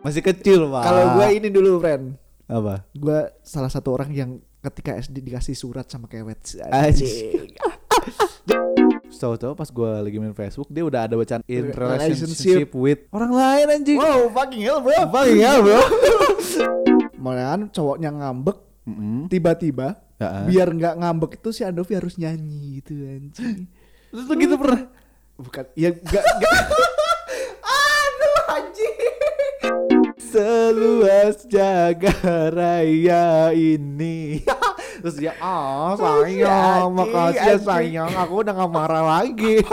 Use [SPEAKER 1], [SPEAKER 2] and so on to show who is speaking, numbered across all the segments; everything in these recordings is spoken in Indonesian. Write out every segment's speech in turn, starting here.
[SPEAKER 1] Masih kecil, Pak.
[SPEAKER 2] Kalau gue ini dulu, friend.
[SPEAKER 1] apa?
[SPEAKER 2] Gue salah satu orang yang ketika SD dikasih surat sama kewet.
[SPEAKER 1] Anjing. Tahu-tahu pas gue lagi main Facebook dia udah ada bacaan in relationship
[SPEAKER 2] Relationship.
[SPEAKER 1] with orang lain anjing.
[SPEAKER 2] Wow, fucking hell, bro.
[SPEAKER 1] Fucking hell, bro.
[SPEAKER 2] Malahan cowoknya ngambek
[SPEAKER 1] Mm-mm.
[SPEAKER 2] tiba-tiba
[SPEAKER 1] Ya.
[SPEAKER 2] biar nggak ngambek itu si Andovi harus nyanyi gitu anjing.
[SPEAKER 1] Terus lu gitu pernah?
[SPEAKER 2] Bukan, ya nggak nggak. Aduh, anjing.
[SPEAKER 1] Seluas jaga raya ini. Terus dia, ah sayang,
[SPEAKER 2] Anjing,
[SPEAKER 1] makasih ya
[SPEAKER 2] anjing."
[SPEAKER 1] sayang, aku udah gak marah lagi.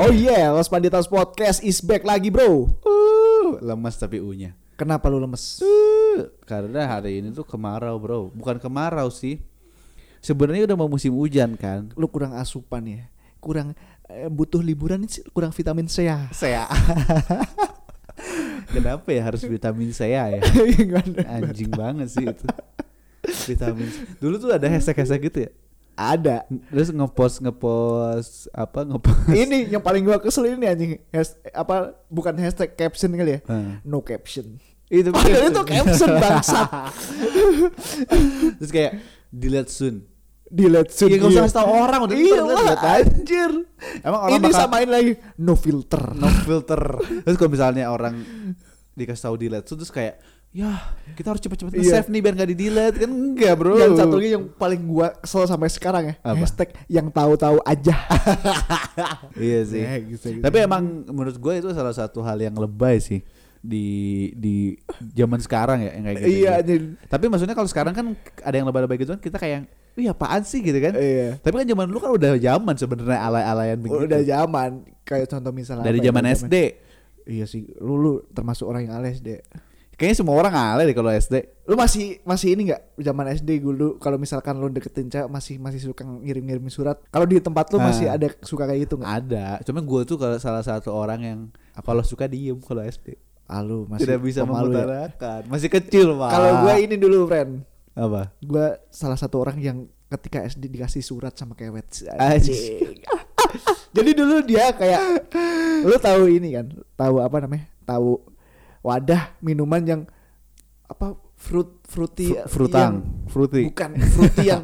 [SPEAKER 2] Oh yeah, Los Panditas Podcast is back lagi, bro.
[SPEAKER 1] Uh, lemas tapi unya.
[SPEAKER 2] Kenapa lu lemes?
[SPEAKER 1] Uh, karena hari ini tuh kemarau bro, bukan kemarau sih. Sebenarnya udah mau musim hujan kan.
[SPEAKER 2] Lu kurang asupan ya. Kurang eh, butuh liburan sih, kurang vitamin C ya.
[SPEAKER 1] Saya. Kenapa ya harus vitamin saya ya?
[SPEAKER 2] Iya
[SPEAKER 1] Anjing banget sih itu. Vitamin. C. Dulu tuh ada hashtag-hashtag gitu ya.
[SPEAKER 2] Ada.
[SPEAKER 1] Terus ngepost ngepost apa ngepost.
[SPEAKER 2] Ini yang paling gua keselin ini anjing. Has- apa bukan hashtag caption kali ya?
[SPEAKER 1] Heeh.
[SPEAKER 2] No caption.
[SPEAKER 1] Hmm. itu Iya,
[SPEAKER 2] Padahal itu caption bangsat.
[SPEAKER 1] Terus kayak delete soon.
[SPEAKER 2] Delete soon.
[SPEAKER 1] Iya, nggak usah kasih tau orang, udah
[SPEAKER 2] Iya
[SPEAKER 1] ntar
[SPEAKER 2] lah,
[SPEAKER 1] lihat aja.
[SPEAKER 2] anjir.
[SPEAKER 1] Emang orang
[SPEAKER 2] ini
[SPEAKER 1] bakal-
[SPEAKER 2] samain lagi no filter.
[SPEAKER 1] no filter. terus kalau misalnya orang dikasih tahu delete so, terus kayak ya kita harus cepet-cepet
[SPEAKER 2] Iya.
[SPEAKER 1] nge-save nih biar nggak di delete kan enggak bro
[SPEAKER 2] Dan satu lagi yang paling gua kesel sampai sekarang ya,
[SPEAKER 1] Apa?
[SPEAKER 2] hashtag yang tahu-tahu aja.
[SPEAKER 1] iya sih
[SPEAKER 2] Ya, gitu, gitu.
[SPEAKER 1] tapi emang menurut gue itu salah satu hal yang lebay sih di di zaman sekarang ya yang kayak gitu
[SPEAKER 2] Iya, anjing.
[SPEAKER 1] tapi maksudnya kalau sekarang kan ada yang lebay-lebay gitu kan kita kayak iya apaan sih gitu kan
[SPEAKER 2] Iya.
[SPEAKER 1] tapi kan zaman dulu kan udah zaman sebenarnya alay-alayan begitu
[SPEAKER 2] Udah zaman kayak contoh misalnya
[SPEAKER 1] dari
[SPEAKER 2] apa ya,
[SPEAKER 1] zaman SD
[SPEAKER 2] Iya sih, lu, lu termasuk orang yang E alay SD.
[SPEAKER 1] kayaknya semua orang alay deh kalau SD
[SPEAKER 2] Lu masih masih ini nggak zaman SD dulu kalau misalkan lu deketin cewek masih masih suka ngirim-ngirimin surat. Kalau di tempat lu masih
[SPEAKER 1] Ah.
[SPEAKER 2] ada suka kayak gitu nggak?
[SPEAKER 1] ada cuma gue tuh kalau salah satu orang yang kalau suka diem kalau SD
[SPEAKER 2] Ah, lu masih
[SPEAKER 1] tidak bisa
[SPEAKER 2] pemalu ya.
[SPEAKER 1] mengutarakan masih kecil pak
[SPEAKER 2] Kalau gua ini dulu, friend.
[SPEAKER 1] apa
[SPEAKER 2] Gua salah satu orang yang ketika SD dikasih surat sama kewet.
[SPEAKER 1] Anjing.
[SPEAKER 2] Jadi dulu dia kayak lu tahu ini kan, tahu apa namanya? Tahu wadah minuman yang apa fruit fruity
[SPEAKER 1] Fru- frutang
[SPEAKER 2] yang-
[SPEAKER 1] fruity
[SPEAKER 2] Bukan fruity yang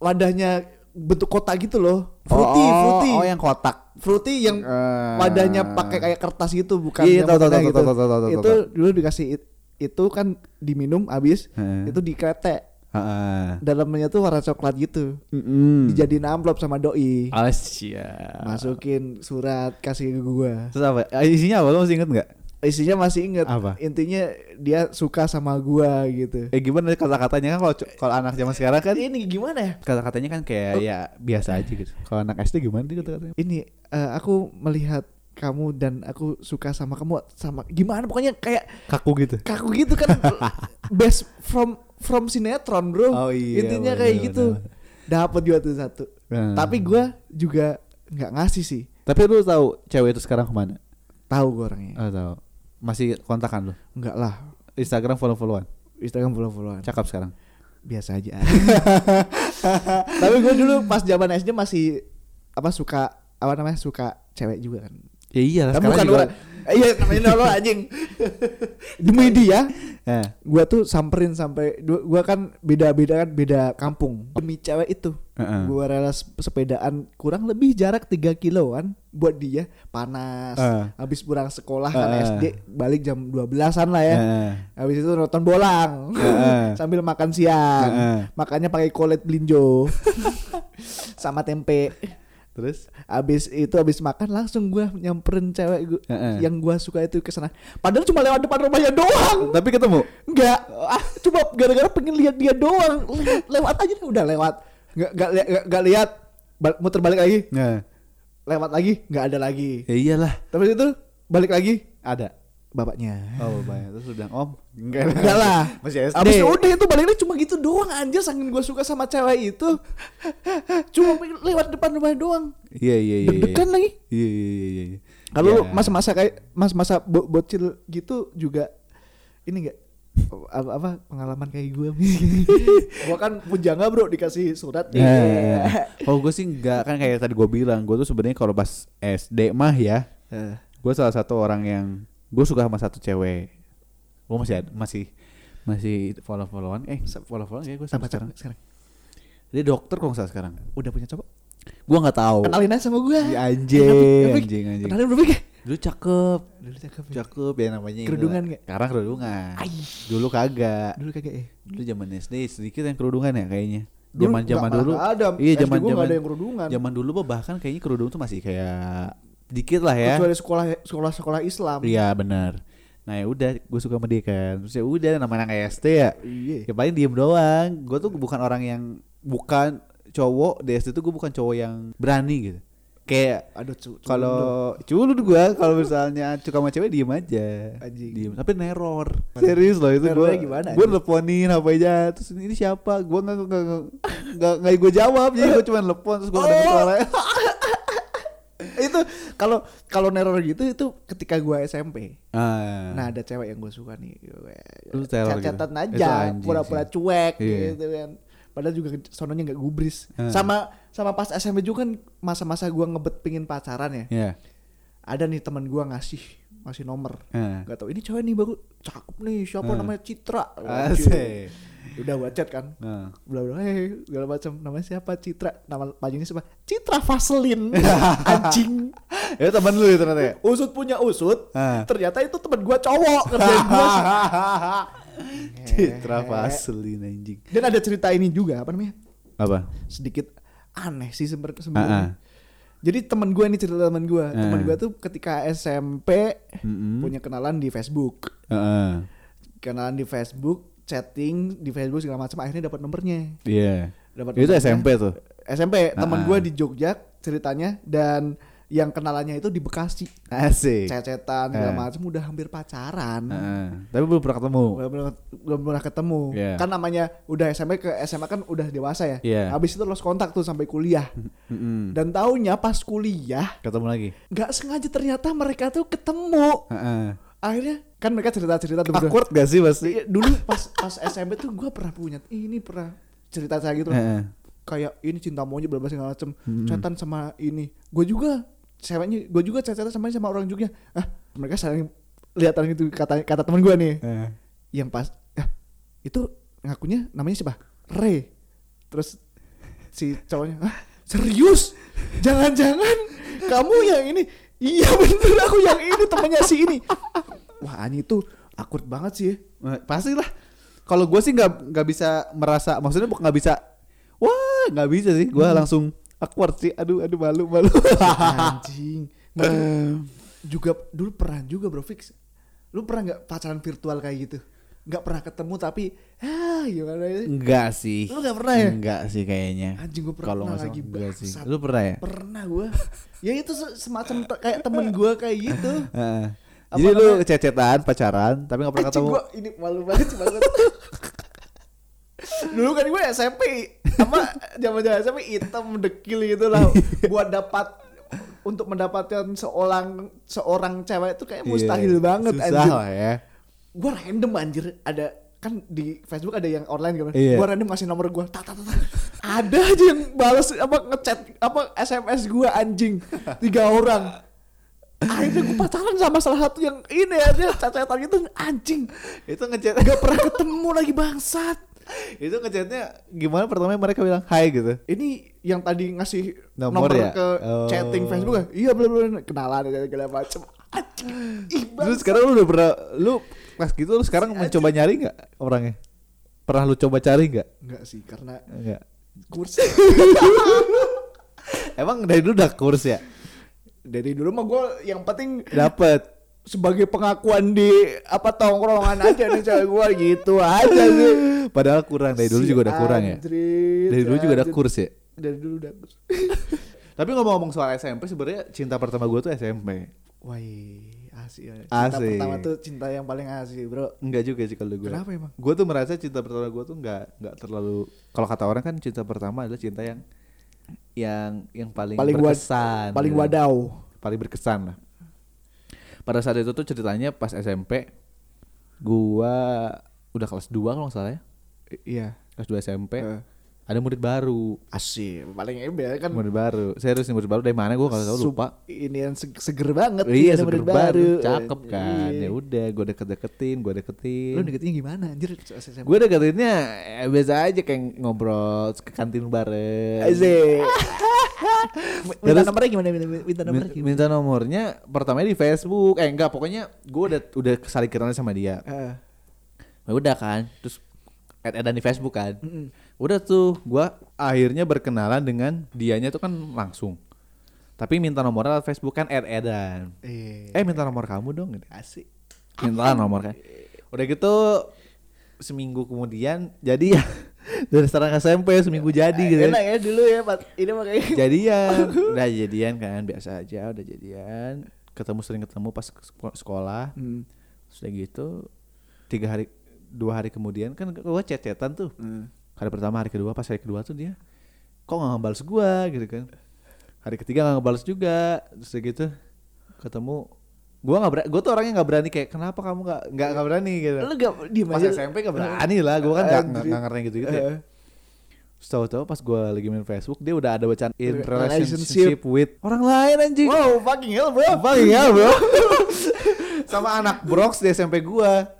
[SPEAKER 2] wadahnya bentuk kotak gitu loh. Fruity,
[SPEAKER 1] oh,
[SPEAKER 2] fruity.
[SPEAKER 1] oh yang kotak
[SPEAKER 2] Fruity yang
[SPEAKER 1] Eh.
[SPEAKER 2] wadahnya pakai kayak kertas gitu bukan
[SPEAKER 1] Iya, iya,
[SPEAKER 2] yang
[SPEAKER 1] tahu, tahu,
[SPEAKER 2] wadah
[SPEAKER 1] tahu,
[SPEAKER 2] gitu.
[SPEAKER 1] tahu, tahu, tahu, tahu,
[SPEAKER 2] Itu dulu dikasih it- itu kan diminum habis
[SPEAKER 1] Heeh.
[SPEAKER 2] itu dikretek
[SPEAKER 1] Heeh.
[SPEAKER 2] dalamnya tuh warna coklat gitu
[SPEAKER 1] Mm-mm.
[SPEAKER 2] dijadiin amplop sama doi
[SPEAKER 1] Hmm. Ah, sia.
[SPEAKER 2] masukin surat kasih ke gua
[SPEAKER 1] terus apa Eh, isinya apa lo masih inget nggak
[SPEAKER 2] isinya masih inget
[SPEAKER 1] Apa?
[SPEAKER 2] intinya dia suka sama gua gitu
[SPEAKER 1] eh gimana kata katanya kan kalau kalau anak zaman sekarang kan
[SPEAKER 2] ini gimana ya
[SPEAKER 1] kata katanya kan kayak ya biasa aja gitu kalau anak SD gimana sih kata katanya
[SPEAKER 2] ini eh, aku melihat kamu dan aku suka sama kamu sama gimana pokoknya kayak
[SPEAKER 1] kaku gitu
[SPEAKER 2] kaku gitu kan best from from sinetron bro
[SPEAKER 1] Oh iya,
[SPEAKER 2] intinya
[SPEAKER 1] bener,
[SPEAKER 2] kayak
[SPEAKER 1] bener.
[SPEAKER 2] gitu dapat juga tuh satu
[SPEAKER 1] Hmm.
[SPEAKER 2] tapi gua juga nggak ngasih sih
[SPEAKER 1] tapi lu tahu cewek itu sekarang kemana
[SPEAKER 2] tahu gua orangnya
[SPEAKER 1] oh, tahu masih kontakan lu
[SPEAKER 2] nggak lah
[SPEAKER 1] Instagram follow followan
[SPEAKER 2] Instagram follow-followan
[SPEAKER 1] cakap sekarang
[SPEAKER 2] biasa aja tapi gue dulu pas zaman SD masih apa suka apa namanya suka cewek juga kan
[SPEAKER 1] ya iya lah
[SPEAKER 2] tapi bukan orang iya namanya nol anjing demi dia
[SPEAKER 1] Eh.
[SPEAKER 2] gue tuh samperin sampai gue kan beda beda kan beda kampung demi cewek itu
[SPEAKER 1] Heeh.
[SPEAKER 2] gue rela sep- sepedaan kurang lebih jarak 3 kiloan buat dia panas
[SPEAKER 1] Eh.
[SPEAKER 2] habis pulang sekolah
[SPEAKER 1] Eh.
[SPEAKER 2] kan SD balik jam 12an lah ya
[SPEAKER 1] Eh.
[SPEAKER 2] Habis itu nonton bolang
[SPEAKER 1] Heeh.
[SPEAKER 2] sambil makan siang.
[SPEAKER 1] Heeh.
[SPEAKER 2] Makannya pakai kolet blinjo sama tempe.
[SPEAKER 1] Terus?
[SPEAKER 2] Habis itu habis makan langsung gua nyamperin cewek gua,
[SPEAKER 1] Heeh.
[SPEAKER 2] yang gua suka itu ke sana. Padahal cuma lewat depan rumahnya doang.
[SPEAKER 1] Tapi ketemu.
[SPEAKER 2] Enggak, ah, cuma gara-gara pengen lihat dia doang. Lewat, lewat aja deh, udah lewat. Enggak enggak li- enggak- enggak lihat. Bal- muter balik lagi,
[SPEAKER 1] Nah.
[SPEAKER 2] lewat lagi, enggak ada lagi.
[SPEAKER 1] Ya iyalah.
[SPEAKER 2] Terus itu balik lagi,
[SPEAKER 1] Ada.
[SPEAKER 2] bapaknya.
[SPEAKER 1] Oh banyak terus lu bilang om
[SPEAKER 2] Enggak lah.
[SPEAKER 1] masih SD.
[SPEAKER 2] Abis itu udah itu baliknya cuma gitu doang anjir saking gue suka sama cewek itu. cuma lewat depan rumah doang.
[SPEAKER 1] Iya iya iya. iya.
[SPEAKER 2] Deg-degan lagi.
[SPEAKER 1] Iya iya iya. iya, iya.
[SPEAKER 2] Kalau lu
[SPEAKER 1] Ya.
[SPEAKER 2] masa-masa kayak masa-masa bo- bocil gitu juga ini enggak apa, apa pengalaman kayak gue gua kan pujangga bro dikasih surat
[SPEAKER 1] Iya, iya, iya. Kalau gue sih enggak kan kayak tadi gue bilang gue tuh sebenarnya kalau pas SD mah ya
[SPEAKER 2] Eh,
[SPEAKER 1] gue salah satu orang yang gue suka sama satu cewek gue masih ada- masih masih follow followan eh follow followan ya gue sama
[SPEAKER 2] sama pacar
[SPEAKER 1] sekarang
[SPEAKER 2] sekarang
[SPEAKER 1] dia dokter kok nggak salah sekarang
[SPEAKER 2] udah punya cowok ya?
[SPEAKER 1] gue nggak tahu
[SPEAKER 2] kenalin aja sama gue
[SPEAKER 1] Oh. Iya, anjing, anjing, anjing.
[SPEAKER 2] kenalin ya? berpikir
[SPEAKER 1] dulu cakep
[SPEAKER 2] dulu cakep ya.
[SPEAKER 1] cakep ya namanya itu
[SPEAKER 2] Kerudungan
[SPEAKER 1] lah.
[SPEAKER 2] nggak?
[SPEAKER 1] sekarang kerudungan
[SPEAKER 2] Ai.
[SPEAKER 1] dulu kagak
[SPEAKER 2] dulu kagak ya
[SPEAKER 1] dulu zaman SD sedikit yang kerudungan ya kayaknya
[SPEAKER 2] Dulu
[SPEAKER 1] zaman zaman
[SPEAKER 2] nggak-
[SPEAKER 1] dulu
[SPEAKER 2] nggak ada.
[SPEAKER 1] iya
[SPEAKER 2] SD gua
[SPEAKER 1] zaman
[SPEAKER 2] nggak
[SPEAKER 1] zaman
[SPEAKER 2] ada yang kerudungan.
[SPEAKER 1] zaman dulu mah bahkan kayaknya kerudung tuh masih kayak dikit lah ya
[SPEAKER 2] kecuali sekolah sekolah sekolah Islam
[SPEAKER 1] Iya benar. Nah ya udah, gue suka sama dia kan. Terus ya udah, namanya anak SD ya.
[SPEAKER 2] Iya.
[SPEAKER 1] Ya paling diem doang. Gue tuh bukan orang yang bukan cowok di SD tuh gue bukan cowok yang berani gitu. Kayak
[SPEAKER 2] aduh cu- cu-
[SPEAKER 1] kalau culun gue kalau misalnya suka sama cewek diem aja.
[SPEAKER 2] Anjing.
[SPEAKER 1] Diem. Tapi neror. Serius loh itu gue.
[SPEAKER 2] Nerornya gimana,
[SPEAKER 1] Gue
[SPEAKER 2] anjing?
[SPEAKER 1] teleponin apa aja. Terus ini siapa? Gue nggak nggak nggak nggak gue jawab. Jadi gue cuma telepon terus gue dengar
[SPEAKER 2] Oh.
[SPEAKER 1] suaranya.
[SPEAKER 2] itu kalau kalau neror gitu itu ketika gua SMP
[SPEAKER 1] Ah.
[SPEAKER 2] nah ada cewek yang gue suka nih
[SPEAKER 1] Lu teror
[SPEAKER 2] catat
[SPEAKER 1] gitu? Itu
[SPEAKER 2] aja
[SPEAKER 1] anjing
[SPEAKER 2] pura-pura
[SPEAKER 1] sih.
[SPEAKER 2] cuek
[SPEAKER 1] Iya.
[SPEAKER 2] gitu kan padahal juga ke- sononya nggak gubris
[SPEAKER 1] Ah.
[SPEAKER 2] sama sama pas SMP juga kan masa-masa gua ngebet pingin pacaran ya
[SPEAKER 1] Ya.
[SPEAKER 2] ada nih teman gua ngasih ngasih nomor
[SPEAKER 1] Ah.
[SPEAKER 2] nggak tahu ini cewek nih baru cakep nih siapa
[SPEAKER 1] Ah.
[SPEAKER 2] namanya Citra
[SPEAKER 1] Asik.
[SPEAKER 2] udah gua chat kan
[SPEAKER 1] Nah.
[SPEAKER 2] bla bla eh segala macam namanya siapa Citra nama panjangnya siapa Citra Vaselin anjing
[SPEAKER 1] Ya temen lu ya ternyata ya.
[SPEAKER 2] usut punya usut
[SPEAKER 1] Ah.
[SPEAKER 2] ternyata itu teman gua cowok kerjaan gua Eh.
[SPEAKER 1] Citra Vaselin anjing.
[SPEAKER 2] dan ada cerita ini juga apa namanya
[SPEAKER 1] Apa?
[SPEAKER 2] sedikit aneh sih
[SPEAKER 1] Ah,
[SPEAKER 2] seber-
[SPEAKER 1] ah.
[SPEAKER 2] sebenarnya jadi teman gua ini cerita teman gua teman
[SPEAKER 1] Ah.
[SPEAKER 2] gua tuh ketika SMP
[SPEAKER 1] Mm-mm.
[SPEAKER 2] punya kenalan di Facebook
[SPEAKER 1] Heeh.
[SPEAKER 2] kenalan di Facebook chatting di Facebook segala macam akhirnya dapat nomornya
[SPEAKER 1] Iya.
[SPEAKER 2] Dapat
[SPEAKER 1] Itu
[SPEAKER 2] nomornya.
[SPEAKER 1] SMP tuh.
[SPEAKER 2] SMP teman
[SPEAKER 1] Ah.
[SPEAKER 2] gua di Jogja ceritanya dan yang kenalannya itu di Bekasi
[SPEAKER 1] Asik.
[SPEAKER 2] cecetan segala
[SPEAKER 1] Ah.
[SPEAKER 2] macam udah hampir pacaran
[SPEAKER 1] Heeh. Tapi belum pernah ketemu.
[SPEAKER 2] belum pernah, belum pernah ketemu
[SPEAKER 1] Iya.
[SPEAKER 2] kan namanya udah SMP ke SMA kan udah dewasa ya
[SPEAKER 1] Iya.
[SPEAKER 2] habis itu lost kontak tuh sampai kuliah
[SPEAKER 1] Mm-mm.
[SPEAKER 2] dan taunya pas kuliah
[SPEAKER 1] Ketemu lagi.
[SPEAKER 2] nggak sengaja ternyata mereka tuh ketemu
[SPEAKER 1] Heeh.
[SPEAKER 2] akhirnya kan mereka cerita cerita tuh berdua.
[SPEAKER 1] Awkward gak sih pasti?
[SPEAKER 2] dulu pas pas SMP tuh gua pernah punya ini pernah cerita saya gitu
[SPEAKER 1] Heeh.
[SPEAKER 2] kayak ini cinta monyet bla bla segala macem
[SPEAKER 1] Eh. Hmm.
[SPEAKER 2] catatan sama ini gue juga ceweknya gue juga catatan sama sama orang juga ah mereka saling lihatan gitu kata kata teman gue nih
[SPEAKER 1] Heeh.
[SPEAKER 2] yang pas ah, itu ngakunya namanya siapa Re terus si cowoknya ah serius jangan jangan kamu yang ini iya bener aku yang ini temennya si ini wah ani itu akut banget sih ya.
[SPEAKER 1] Eh, Pasti lah. Kalau gue sih nggak nggak bisa merasa, maksudnya bukan nggak bisa. Wah, nggak bisa sih. Gue langsung awkward sih. Aduh, aduh malu, malu.
[SPEAKER 2] anjing Makanya juga dulu pernah juga bro fix lu pernah nggak pacaran virtual kayak gitu nggak pernah ketemu tapi ah gimana sih
[SPEAKER 1] Enggak sih.
[SPEAKER 2] Lu nggak pernah ya?
[SPEAKER 1] Enggak sih kayaknya.
[SPEAKER 2] Anjing, gua pernah
[SPEAKER 1] Kalau nggak
[SPEAKER 2] lagi,
[SPEAKER 1] salah, enggak sih.
[SPEAKER 2] bangsat.
[SPEAKER 1] Lu pernah ya?
[SPEAKER 2] pernah gua ya itu se- semacam te- kayak temen gua kayak gitu
[SPEAKER 1] Heeh.
[SPEAKER 2] Apa
[SPEAKER 1] Jadi lu
[SPEAKER 2] namanya?
[SPEAKER 1] cecetan, pacaran, tapi gak pernah
[SPEAKER 2] Anjing
[SPEAKER 1] ketemu.
[SPEAKER 2] gua ini malu banget sih, banget dulu kan gue SMP apa zaman zaman SMP hitam dekil gitu lah buat dapat untuk mendapatkan seorang seorang cewek itu kayak
[SPEAKER 1] Iya.
[SPEAKER 2] mustahil banget
[SPEAKER 1] Susah
[SPEAKER 2] anjing.
[SPEAKER 1] lah ya.
[SPEAKER 2] gue random anjir ada kan di Facebook ada yang online gitu.
[SPEAKER 1] Iya.
[SPEAKER 2] Gue random ngasih nomor gue, tak tak tak. tak. Ada aja yang balas apa ngechat apa SMS gue anjing tiga orang. Akhirnya gue pacaran sama salah satu yang ini aja cacetan itu anjing.
[SPEAKER 1] Itu ngechat
[SPEAKER 2] Gak pernah ketemu lagi bangsat.
[SPEAKER 1] itu ngechatnya gimana pertama mereka bilang hai gitu.
[SPEAKER 2] Ini yang tadi ngasih
[SPEAKER 1] Nomor
[SPEAKER 2] nomor,
[SPEAKER 1] ya?
[SPEAKER 2] ke
[SPEAKER 1] Oh.
[SPEAKER 2] chatting Facebook gue. Iya belum belum kenalan dan segala macem. Anjing. Ih,
[SPEAKER 1] Terus
[SPEAKER 2] bangsat.
[SPEAKER 1] sekarang lu udah pernah lu pas gitu lu sekarang mencoba nyari nggak orangnya? Pernah lu coba cari nggak?
[SPEAKER 2] Enggak sih karena
[SPEAKER 1] Enggak.
[SPEAKER 2] kursi.
[SPEAKER 1] Emang dari dulu udah kurs ya?
[SPEAKER 2] Dari dulu mah gue yang penting
[SPEAKER 1] Dapat.
[SPEAKER 2] sebagai pengakuan di apa tongkrongan aja nih cewek gue gitu aja sih.
[SPEAKER 1] Padahal kurang dari dulu
[SPEAKER 2] Si
[SPEAKER 1] juga udah kurang ya.
[SPEAKER 2] Andrit,
[SPEAKER 1] Dari dulu juga udah
[SPEAKER 2] Andrit.
[SPEAKER 1] kurs ya.
[SPEAKER 2] Dari dulu udah kurs.
[SPEAKER 1] Tapi ngomong-ngomong soal SMP sebenarnya cinta pertama gue tuh SMP.
[SPEAKER 2] Wah, asik. ya. Cinta
[SPEAKER 1] Asik.
[SPEAKER 2] pertama tuh cinta yang paling asik, Bro.
[SPEAKER 1] Enggak juga sih kalau gue.
[SPEAKER 2] Kenapa emang?
[SPEAKER 1] Gue tuh merasa cinta pertama gue tuh nggak nggak terlalu kalau kata orang kan cinta pertama adalah cinta yang yang yang paling,
[SPEAKER 2] Paling wad-
[SPEAKER 1] berkesan.
[SPEAKER 2] paling
[SPEAKER 1] gitu.
[SPEAKER 2] wadau.
[SPEAKER 1] paling berkesan lah. Pada saat itu tuh ceritanya pas SMP gua udah kelas 2 kalau nggak salah ya.
[SPEAKER 2] I- Iya.
[SPEAKER 1] Kelas 2 SMP.
[SPEAKER 2] Heeh.
[SPEAKER 1] Ada murid baru.
[SPEAKER 2] Asik, paling ember kan.
[SPEAKER 1] Murid baru. Serius nih murid baru dari mana gua kalau tahu
[SPEAKER 2] Sup-
[SPEAKER 1] lupa.
[SPEAKER 2] Ini yang se- seger banget.
[SPEAKER 1] Iya,
[SPEAKER 2] ada
[SPEAKER 1] seger
[SPEAKER 2] murid
[SPEAKER 1] baru. Cakep kan.
[SPEAKER 2] Iya.
[SPEAKER 1] Ya udah gua deket-deketin, gua
[SPEAKER 2] Lu
[SPEAKER 1] deketin.
[SPEAKER 2] deketinnya gimana anjir? SMA.
[SPEAKER 1] Gue deketinnya eh, biasa aja kayak ngobrol ke kantin bareng.
[SPEAKER 2] Asik. minta
[SPEAKER 1] Terus-
[SPEAKER 2] nomornya gimana? Minta, minta gitu. nomornya
[SPEAKER 1] Min-
[SPEAKER 2] gimana?
[SPEAKER 1] Minta nomornya pertamanya di Facebook. Eh enggak, pokoknya gua udah udah saling kenal sama dia.
[SPEAKER 2] Heeh.
[SPEAKER 1] Ya udah kan, terus add-addan di Facebook kan.
[SPEAKER 2] Mm-mm.
[SPEAKER 1] Udah tuh gua akhirnya berkenalan dengan dianya tuh kan langsung. Tapi minta nomor lewat Facebook kan add-addan.
[SPEAKER 2] Eh,
[SPEAKER 1] Eh minta nomor kamu dong gitu.
[SPEAKER 2] asik.
[SPEAKER 1] Minta nomor kan. Udah gitu seminggu kemudian jadi ya dari sekarang SMP seminggu jadi gitu. ya.
[SPEAKER 2] Enak ya dulu ya, Pak. Ini makanya
[SPEAKER 1] Jadian, udah jadian kan biasa aja udah jadian. Ketemu sering ketemu pas ke seko- sekolah.
[SPEAKER 2] Hmm.
[SPEAKER 1] Sudah gitu tiga hari dua hari kemudian kan gua chat-chatan tuh. Hari pertama, hari kedua, pas hari kedua tuh dia kok nggak ngebales gua gitu kan. Hari ketiga nggak ngebales juga, terus kayak gitu ketemu gua nggak berani, gua tuh orangnya nggak berani kayak kenapa kamu nggak nggak nggak berani gitu.
[SPEAKER 2] Lu gak diem
[SPEAKER 1] Pas
[SPEAKER 2] aja.
[SPEAKER 1] SMP nggak berani lah, gua kan nggak nggak-
[SPEAKER 2] Anjir.
[SPEAKER 1] nggak ngerti gitu gitu.
[SPEAKER 2] Heeh.
[SPEAKER 1] Ya. Terus tahu-tahu pas gua lagi main Facebook dia udah ada bacaan in
[SPEAKER 2] Relationship.
[SPEAKER 1] relationship with orang lain anjing.
[SPEAKER 2] Wow, fucking hell, bro.
[SPEAKER 1] Fucking hell, bro. Sama anak Brox di SMP gua.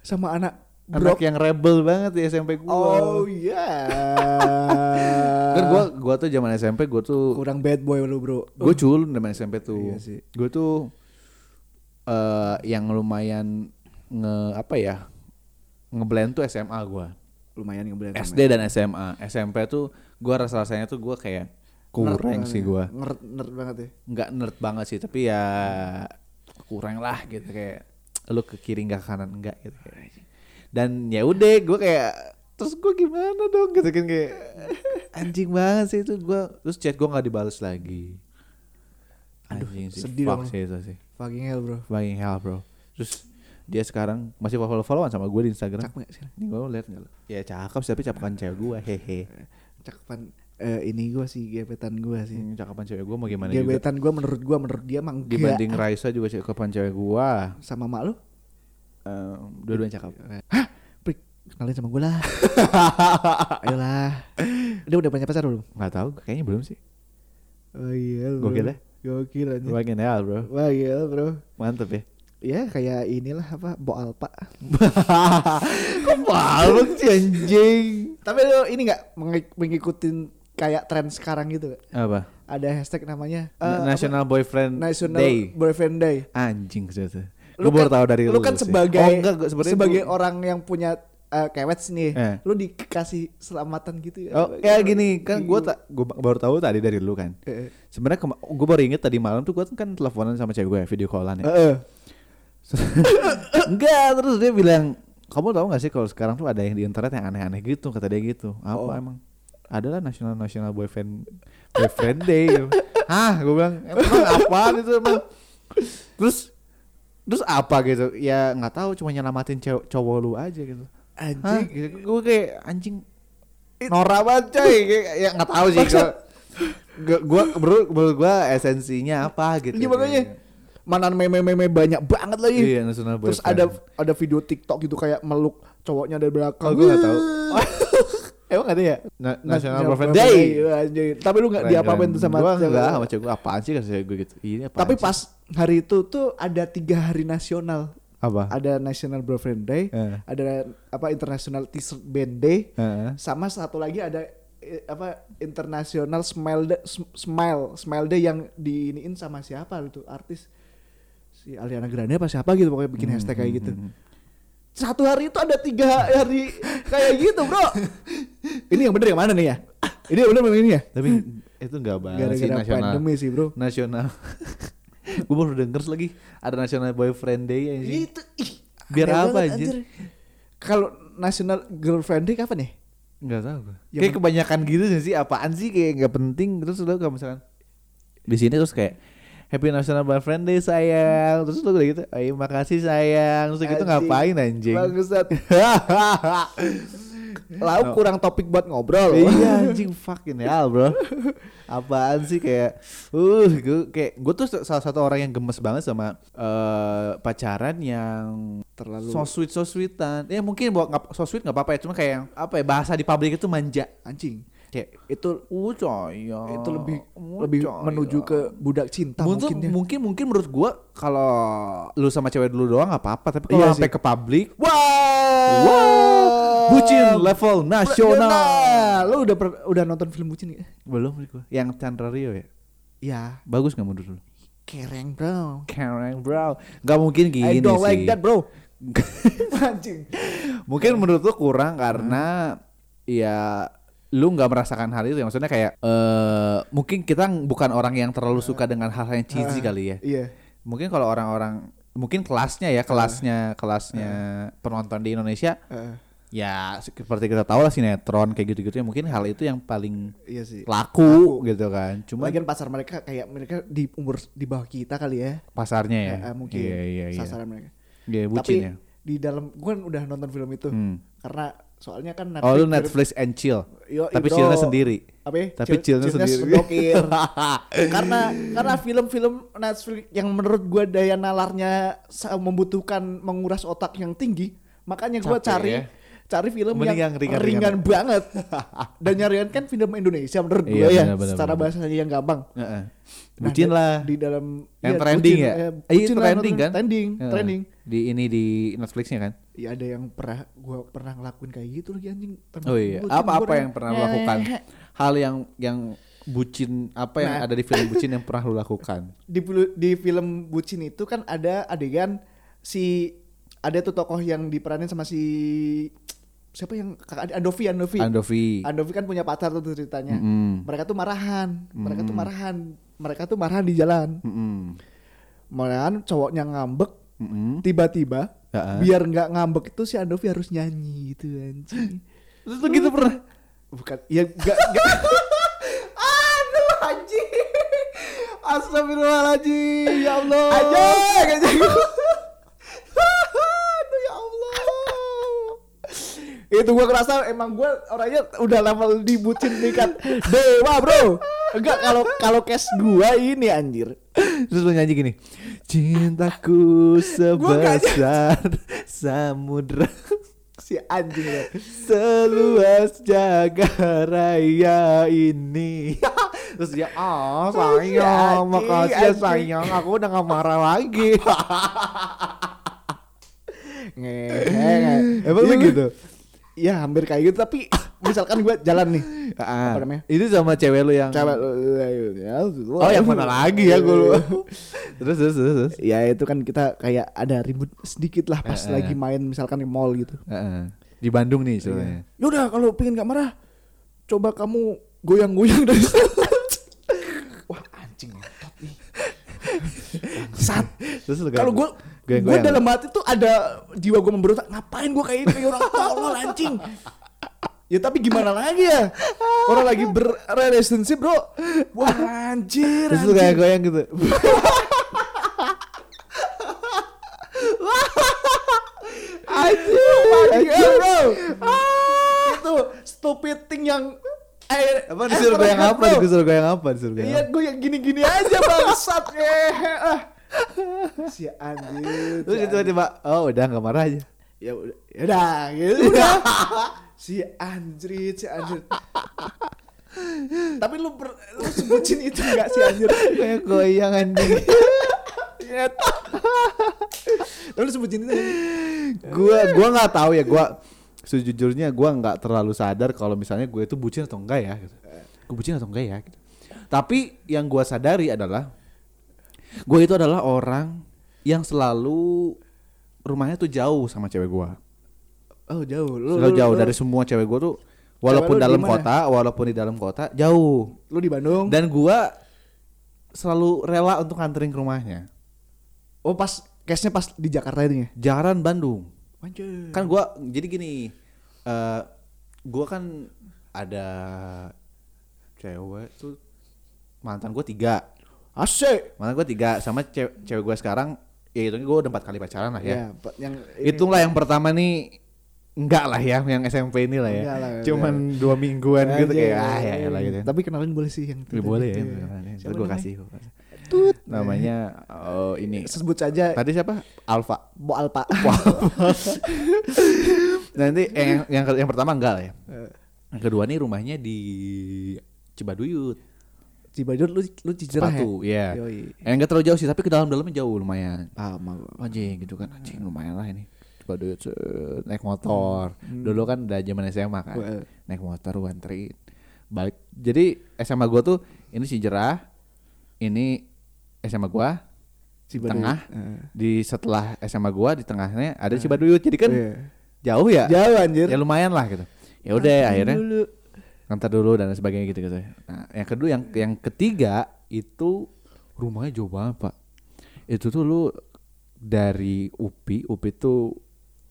[SPEAKER 2] Sama anak
[SPEAKER 1] Anak
[SPEAKER 2] Brock.
[SPEAKER 1] yang rebel banget di SMP gua.
[SPEAKER 2] Oh iya.
[SPEAKER 1] Kan gua gua tuh zaman SMP gua tuh
[SPEAKER 2] kurang bad boy lu, Bro.
[SPEAKER 1] gue culun zaman SMP tuh
[SPEAKER 2] Iya sih.
[SPEAKER 1] gue tuh eh yang lumayan nge apa ya ngeblend tuh SMA gue
[SPEAKER 2] Lumayan ngebelan.
[SPEAKER 1] SD dan SMA SMP tuh gue rasa rasanya tuh gue kayak kurang sih gue
[SPEAKER 2] Nerd, nerd banget ya.
[SPEAKER 1] nggak nerd banget sih tapi ya kurang lah gitu kayak lu ke kiri nggak ke kanan enggak gitu kayak. dan ya udah gue kayak terus gue gimana dong gitu kan kayak anjing banget sih itu gue terus chat gue nggak dibales lagi anjing sih
[SPEAKER 2] sedih
[SPEAKER 1] fuck
[SPEAKER 2] dong.
[SPEAKER 1] sih itu sih
[SPEAKER 2] Fucking hell, Bro.
[SPEAKER 1] fucking hell bro terus dia sekarang masih follow followan sama gue di Instagram
[SPEAKER 2] Cakep gak sekarang?
[SPEAKER 1] ini gue liat nggak lu? ya cakep sih, tapi cakepan cewek gue hehe
[SPEAKER 2] Cakepan eh, ini gua sih gebetan gua sih.
[SPEAKER 1] Hmm, cakepan cewek gue mau gimana juga
[SPEAKER 2] Gebetan gua menurut gua menurut dia mah enggak.
[SPEAKER 1] dibanding Raisa juga cakepan cewek gue
[SPEAKER 2] sama mak lu.
[SPEAKER 1] Eh,
[SPEAKER 2] Ehm,
[SPEAKER 1] dua-duanya cakep.
[SPEAKER 2] Hah? Prik, kenalin sama gua lah. Ayolah. Udah udah punya pacar belum?
[SPEAKER 1] Nggak tahu, kayaknya belum sih.
[SPEAKER 2] Oh iya,
[SPEAKER 1] bro. Gokil ya?
[SPEAKER 2] Gokil anjir.
[SPEAKER 1] Fucking hell, bro.
[SPEAKER 2] Gokil, Bro.
[SPEAKER 1] Mantep ya.
[SPEAKER 2] Ya kayak inilah apa Bo Alpa.
[SPEAKER 1] Kok malu sih anjing?
[SPEAKER 2] Tapi lu ini nggak mengi- mengikuti kayak tren sekarang gitu nggak?
[SPEAKER 1] Apa?
[SPEAKER 2] Ada hashtag namanya eh,
[SPEAKER 1] Na-
[SPEAKER 2] apa?
[SPEAKER 1] National Boyfriend
[SPEAKER 2] National
[SPEAKER 1] Day.
[SPEAKER 2] Boyfriend Day.
[SPEAKER 1] Anjing gitu.
[SPEAKER 2] Lu
[SPEAKER 1] Lu baru
[SPEAKER 2] kan-
[SPEAKER 1] tahu dari lu.
[SPEAKER 2] lu kan
[SPEAKER 1] sih.
[SPEAKER 2] sebagai
[SPEAKER 1] Oh, enggak, gua- sebenarnya
[SPEAKER 2] sebagai
[SPEAKER 1] gua-
[SPEAKER 2] orang yang punya eh, kewets nih,
[SPEAKER 1] Eh.
[SPEAKER 2] lu dikasih selamatan gitu ya.
[SPEAKER 1] Oh, ya gini, kan gua tak gua baru tahu tadi dari lu kan.
[SPEAKER 2] Heeh.
[SPEAKER 1] Sebenarnya kema- gua baru inget tadi malam tuh gua kan teleponan sama cewek gue video callan ya.
[SPEAKER 2] Heeh.
[SPEAKER 1] Enggak, terus dia bilang, kamu tahu gak sih kalau sekarang tuh ada yang di internet yang aneh-aneh gitu, kata dia gitu. Apa
[SPEAKER 2] Oh.
[SPEAKER 1] emang? Adalah national national boyfriend boyfriend day. gitu. Hah, gue bilang emang apaan itu emang? Terus terus apa gitu? Ya nggak tahu, cuma nyelamatin cewek cowok lu aja gitu. Hah,
[SPEAKER 2] Anjing.
[SPEAKER 1] gitu. Gue kayak anjing Nora banget coy, Kayak- ya nggak tahu sih.
[SPEAKER 2] Maksud-
[SPEAKER 1] Gue gua menurut menurut gua esensinya apa gitu.
[SPEAKER 2] Ini Iya, makanya mana meme-meme banyak banget lagi.
[SPEAKER 1] Iya, national boyfriend.
[SPEAKER 2] Terus ada ada video TikTok gitu kayak meluk cowoknya dari belakang.
[SPEAKER 1] Oh, gua nggak tahu.
[SPEAKER 2] Wih.
[SPEAKER 1] Emang ada ya? Na-
[SPEAKER 2] Nah,
[SPEAKER 1] National
[SPEAKER 2] National
[SPEAKER 1] Boyfriend
[SPEAKER 2] Boyfriend
[SPEAKER 1] Day.
[SPEAKER 2] Iya, anjing. Tapi lu nggak diapa-apain tuh sama
[SPEAKER 1] gua
[SPEAKER 2] cewek.
[SPEAKER 1] enggak sama cewek gua apaan sih kata cewek gue gitu. Ini apaan
[SPEAKER 2] Tapi
[SPEAKER 1] sih?
[SPEAKER 2] pas hari itu tuh ada tiga hari nasional.
[SPEAKER 1] apa?
[SPEAKER 2] Ada National Boyfriend Day,
[SPEAKER 1] Eh.
[SPEAKER 2] ada apa International T-shirt Band Day,
[SPEAKER 1] Heeh.
[SPEAKER 2] sama satu lagi ada eh, apa International Smile Day, Sm- Smile Smile Day yang diiniin sama siapa itu artis si Aliana Grande apa siapa gitu pokoknya
[SPEAKER 1] Hmm,
[SPEAKER 2] bikin hashtag kayak gitu. Satu hari itu ada tiga hari kayak gitu bro. ini yang bener yang mana nih ya? Ini yang bener yang ini ya?
[SPEAKER 1] Tapi itu enggak banget sih Eh,
[SPEAKER 2] Gara-gara
[SPEAKER 1] nasional.
[SPEAKER 2] pandemi sih bro.
[SPEAKER 1] Nasional. gue baru denger lagi ada National Boyfriend Day ya sih.
[SPEAKER 2] Itu ih,
[SPEAKER 1] Biar
[SPEAKER 2] aneh
[SPEAKER 1] apa,
[SPEAKER 2] banget,
[SPEAKER 1] anjir?
[SPEAKER 2] Kalau National Girlfriend Day kapan nih?
[SPEAKER 1] Enggak tahu gua.
[SPEAKER 2] Ya,
[SPEAKER 1] kayak
[SPEAKER 2] men-
[SPEAKER 1] kebanyakan gitu sih apaan sih kayak enggak penting terus udah kalau misalkan di sini terus kayak Happy National Boyfriend Day sayang. Terus lu udah gitu, ayo makasih sayang. Terus gitu
[SPEAKER 2] Anjing.
[SPEAKER 1] ngapain anjing?
[SPEAKER 2] Bangsat. Lau kurang topik buat ngobrol.
[SPEAKER 1] Nah. iya anjing fucking hell bro. Apaan sih kayak uh gue kayak gue tuh salah satu orang yang gemes banget sama eh, pacaran yang
[SPEAKER 2] Terlalu
[SPEAKER 1] so sweet so sweetan. Ya mungkin buat nggak- so sweet nggak apa-apa ya, cuma kayak yang- apa ya bahasa di pabrik itu manja.
[SPEAKER 2] anjing.
[SPEAKER 1] Kayak itu uh coy. uh,
[SPEAKER 2] Itu lebih lebih
[SPEAKER 1] ya.
[SPEAKER 2] menuju ke budak cinta
[SPEAKER 1] mungkin,
[SPEAKER 2] mungkin ya.
[SPEAKER 1] mungkin mungkin menurut gua kalau lu sama cewek dulu doang nggak apa-apa tapi kalau
[SPEAKER 2] Iya
[SPEAKER 1] sampai
[SPEAKER 2] sih.
[SPEAKER 1] ke publik
[SPEAKER 2] Wah.
[SPEAKER 1] wah bucin level nasional
[SPEAKER 2] Nasional. Lu udah per- udah nonton film bucin gak?
[SPEAKER 1] belum gua yang Chandra Rio ya
[SPEAKER 2] Ya,
[SPEAKER 1] bagus nggak menurut lu
[SPEAKER 2] kereng bro.
[SPEAKER 1] Keren bro nggak mungkin gini
[SPEAKER 2] I don't
[SPEAKER 1] sih
[SPEAKER 2] like that bro. anjing.
[SPEAKER 1] mungkin menurut lu kurang karena ya lu nggak merasakan hal itu ya. maksudnya kayak eh mungkin kita bukan orang yang terlalu suka dengan hal-hal yang cheesy kali ya
[SPEAKER 2] Iya.
[SPEAKER 1] mungkin kalau orang-orang mungkin kelasnya ya kelasnya kelasnya penonton di Indonesia
[SPEAKER 2] Heeh.
[SPEAKER 1] ya seperti kita tahu lah sinetron kayak gitu-gitu ya mungkin hal itu yang paling
[SPEAKER 2] iya sih.
[SPEAKER 1] laku, gitu kan cuma
[SPEAKER 2] Lagian pasar mereka kayak mereka di umur di bawah kita kali ya.
[SPEAKER 1] pasarnya ya
[SPEAKER 2] Eh, eh, mungkin
[SPEAKER 1] iya iya iya
[SPEAKER 2] sasaran mereka.
[SPEAKER 1] Iya,
[SPEAKER 2] Tapi
[SPEAKER 1] bucin ya
[SPEAKER 2] di dalam gue kan udah nonton film itu
[SPEAKER 1] Hmm.
[SPEAKER 2] karena soalnya kan
[SPEAKER 1] oh lu Netflix and chill
[SPEAKER 2] Yo,
[SPEAKER 1] tapi
[SPEAKER 2] bro.
[SPEAKER 1] chillnya sendiri
[SPEAKER 2] apa ya?
[SPEAKER 1] tapi chillnya sendiri
[SPEAKER 2] sedokir. karena karena film-film Netflix yang menurut gue daya nalarnya sa- membutuhkan menguras otak yang tinggi makanya gue
[SPEAKER 1] Capek
[SPEAKER 2] cari
[SPEAKER 1] ya.
[SPEAKER 2] cari film
[SPEAKER 1] Mending
[SPEAKER 2] yang
[SPEAKER 1] yang ringan-ringan.
[SPEAKER 2] ringan banget dan nyarian kan film Indonesia menurut gue
[SPEAKER 1] Iya,
[SPEAKER 2] ya
[SPEAKER 1] benar, benar,
[SPEAKER 2] secara
[SPEAKER 1] benar.
[SPEAKER 2] bahasanya yang gampang
[SPEAKER 1] Heeh.
[SPEAKER 2] Nah,
[SPEAKER 1] bucin
[SPEAKER 2] di-
[SPEAKER 1] lah
[SPEAKER 2] di dalam
[SPEAKER 1] Yang trending
[SPEAKER 2] bucin,
[SPEAKER 1] ya?
[SPEAKER 2] eh,
[SPEAKER 1] Eh,
[SPEAKER 2] bucin lah,
[SPEAKER 1] trending kan?
[SPEAKER 2] trending
[SPEAKER 1] Heeh.
[SPEAKER 2] trending
[SPEAKER 1] di ini di Netflixnya kan
[SPEAKER 2] Ya ada yang pernah gua pernah ngelakuin kayak gitu lagi anjing. Pernah
[SPEAKER 1] oh iya
[SPEAKER 2] ngelakuin,
[SPEAKER 1] apa apa
[SPEAKER 2] gua
[SPEAKER 1] yang pernah lu lakukan
[SPEAKER 2] eh,
[SPEAKER 1] hal yang yang bucin apa yang
[SPEAKER 2] Nah.
[SPEAKER 1] ada di film bucin yang pernah lu lakukan
[SPEAKER 2] Di, pil- di film bucin itu kan ada adegan si ada tuh tokoh yang diperanin sama si siapa yang kakak Andovi Andovi.
[SPEAKER 1] Andovi
[SPEAKER 2] Andovi kan punya pacar tuh ceritanya.
[SPEAKER 1] Mm-mm.
[SPEAKER 2] Mereka tuh marahan, mereka tuh marahan, mereka tuh marahan di jalan.
[SPEAKER 1] Mm-mm.
[SPEAKER 2] Malahan cowoknya ngambek,
[SPEAKER 1] Mm-mm.
[SPEAKER 2] tiba-tiba
[SPEAKER 1] Heeh.
[SPEAKER 2] biar nggak ngambek itu si Andovi harus nyanyi gitu anjing.
[SPEAKER 1] Terus lu gitu pernah?
[SPEAKER 2] Bukan, ya gak, gak. Aduh anjing.
[SPEAKER 1] Astagfirullahaladzim, ya Allah.
[SPEAKER 2] Anjing, anjing. Aduh ya Allah. Itu gua ngerasa emang gua orangnya udah level di bucin tingkat dewa, Bro. Enggak kalau kalau cash gua ini anjir.
[SPEAKER 1] Terus lu nyanyi gini, cintaku
[SPEAKER 2] nggak
[SPEAKER 1] sebesar samudra
[SPEAKER 2] Si anjing ya.
[SPEAKER 1] seluas jaga raya ini. Terus dia, ah sayang,
[SPEAKER 2] Anjing,
[SPEAKER 1] makasih ya,
[SPEAKER 2] anjing."
[SPEAKER 1] sayang, aku udah gak marah lagi.
[SPEAKER 2] Ngehe.
[SPEAKER 1] Emang lu gitu?
[SPEAKER 2] Ya hampir kayak gitu tapi misalkan gua jalan nih.
[SPEAKER 1] Ah,
[SPEAKER 2] Apa namanya?
[SPEAKER 1] itu sama cewek lu yang
[SPEAKER 2] Coba ya,
[SPEAKER 1] Oh yang mana lagi ya gue lu Terus terus terus, terus.
[SPEAKER 2] ya itu kan kita kayak ada ribut sedikit lah pas
[SPEAKER 1] Heeh.
[SPEAKER 2] lagi main misalkan di mall gitu.
[SPEAKER 1] Heeh. Di Bandung nih soalnya
[SPEAKER 2] Yaudah kalau pengen gak marah, coba kamu goyang-goyang dari sana. Wah anjing otot nih. Bangsat.
[SPEAKER 1] Terus lu
[SPEAKER 2] Kalau gue gue
[SPEAKER 1] goyang-goyang.
[SPEAKER 2] dalam hati tuh ada jiwa gue memberontak. Ngapain gue kayak ini kayak orang tolol anjing. Ya tapi gimana lagi ya? Orang lagi berrelationship bro. Wah anjir.
[SPEAKER 1] Terus lu
[SPEAKER 2] anjir.
[SPEAKER 1] kayak goyang gitu.
[SPEAKER 2] Anjing, anjing, eh, bro. Itu stupid thing yang eh,
[SPEAKER 1] Apa disuruh
[SPEAKER 2] eh,
[SPEAKER 1] goyang apa?
[SPEAKER 2] bro.
[SPEAKER 1] Disuruh goyang apa? Disuruh goyang
[SPEAKER 2] Iya
[SPEAKER 1] apa?
[SPEAKER 2] gue yang gini-gini aja bangsat ngehe, ah. Si anjing.
[SPEAKER 1] Terus
[SPEAKER 2] si
[SPEAKER 1] tiba tiba oh udah nggak marah aja.
[SPEAKER 2] anjing. Ya udah, ya udah gitu udah. si anjrit, si anjrit. Tapi lu, per, lu sebutin itu enggak si anjir?
[SPEAKER 1] Kayak goyang anjing.
[SPEAKER 2] Nyet. Tapi Iya. lu sebutin itu nggak?
[SPEAKER 1] gua gua nggak tahu ya gua sejujurnya gua nggak terlalu sadar kalau misalnya gue itu bucin atau enggak ya. Gitu. Gue bucin atau enggak ya. Gitu. Tapi yang gua sadari adalah gue itu adalah orang yang selalu rumahnya tuh jauh sama cewek gua.
[SPEAKER 2] Oh jauh. Lu,
[SPEAKER 1] Selalu
[SPEAKER 2] lu-
[SPEAKER 1] jauh
[SPEAKER 2] lu-
[SPEAKER 1] dari semua cewek gua tuh walaupun
[SPEAKER 2] lu di
[SPEAKER 1] dalam
[SPEAKER 2] mana? Oh.
[SPEAKER 1] kota, walaupun di dalam kota jauh.
[SPEAKER 2] lu di Bandung.
[SPEAKER 1] Dan gua selalu rela untuk nganterin ke rumahnya.
[SPEAKER 2] oh pas cashnya pas di Jakarta itu ya?
[SPEAKER 1] Jaran Bandung.
[SPEAKER 2] Anjir.
[SPEAKER 1] Kan gua jadi gini. eh gua kan ada cewek tuh mantan gua tiga.
[SPEAKER 2] Asik.
[SPEAKER 1] Mana gue tiga sama cewek, cewek gue sekarang ya hitungnya gue udah empat kali pacaran lah ya.
[SPEAKER 2] Ya, Pak, yang ini-
[SPEAKER 1] Hitunglah yang pertama nih enggak lah ya yang SMP ini lah ya.
[SPEAKER 2] Enggak lah,
[SPEAKER 1] Cuman dua mingguan gitu
[SPEAKER 2] Anjing.
[SPEAKER 1] kayak ah ya elah gitu.
[SPEAKER 2] Tapi kenalin boleh sih yang
[SPEAKER 1] Ya, boleh ya.
[SPEAKER 2] Iya. Siapa
[SPEAKER 1] gue
[SPEAKER 2] namanya?
[SPEAKER 1] kasih. gua kasih.
[SPEAKER 2] Tut.
[SPEAKER 1] Namanya oh, ini.
[SPEAKER 2] Sebut saja
[SPEAKER 1] Tadi siapa? Alfa.
[SPEAKER 2] Bo Alpa.
[SPEAKER 1] Nanti eh, yang, yang yang pertama enggak lah ya.
[SPEAKER 2] Eh,
[SPEAKER 1] Yang kedua nih rumahnya di Cibaduyut.
[SPEAKER 2] Cibaduyut lu lu cicerah ya.
[SPEAKER 1] Sepatu, ya.
[SPEAKER 2] Yoi.
[SPEAKER 1] Eh, enggak terlalu jauh sih, tapi ke dalam-dalamnya jauh lumayan.
[SPEAKER 2] Paham aku.
[SPEAKER 1] anjing gitu kan anjing lumayan lah ini coba duit set, naik motor
[SPEAKER 2] Hmm.
[SPEAKER 1] dulu kan udah zaman SMA kan
[SPEAKER 2] Heeh.
[SPEAKER 1] naik motor gua anterin balik jadi SMA gua tuh ini si jerah ini SMA gua
[SPEAKER 2] Cibaduyut.
[SPEAKER 1] tengah
[SPEAKER 2] Heeh.
[SPEAKER 1] di setelah SMA gua di tengahnya ada Cibaduyut jadi kan
[SPEAKER 2] Iya.
[SPEAKER 1] jauh ya
[SPEAKER 2] Jauh anjir.
[SPEAKER 1] ya lumayan lah gitu ya udah akhirnya
[SPEAKER 2] Dulu.
[SPEAKER 1] ngantar dulu dan sebagainya gitu gitu nah yang kedua yang yang ketiga itu rumahnya jauh banget pak itu tuh lu dari UPI UPI tuh